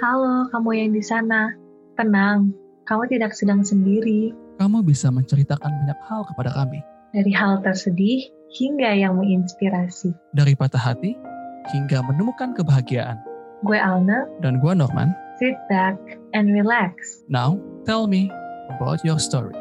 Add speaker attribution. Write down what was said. Speaker 1: Halo, kamu yang di sana. Tenang, kamu tidak sedang sendiri.
Speaker 2: Kamu bisa menceritakan banyak hal kepada kami.
Speaker 1: Dari hal tersedih hingga yang menginspirasi.
Speaker 2: Dari patah hati hingga menemukan kebahagiaan.
Speaker 1: Gue Alna,
Speaker 2: Dan gua Norman.
Speaker 1: sit back and relax.
Speaker 2: Now, tell me about your story.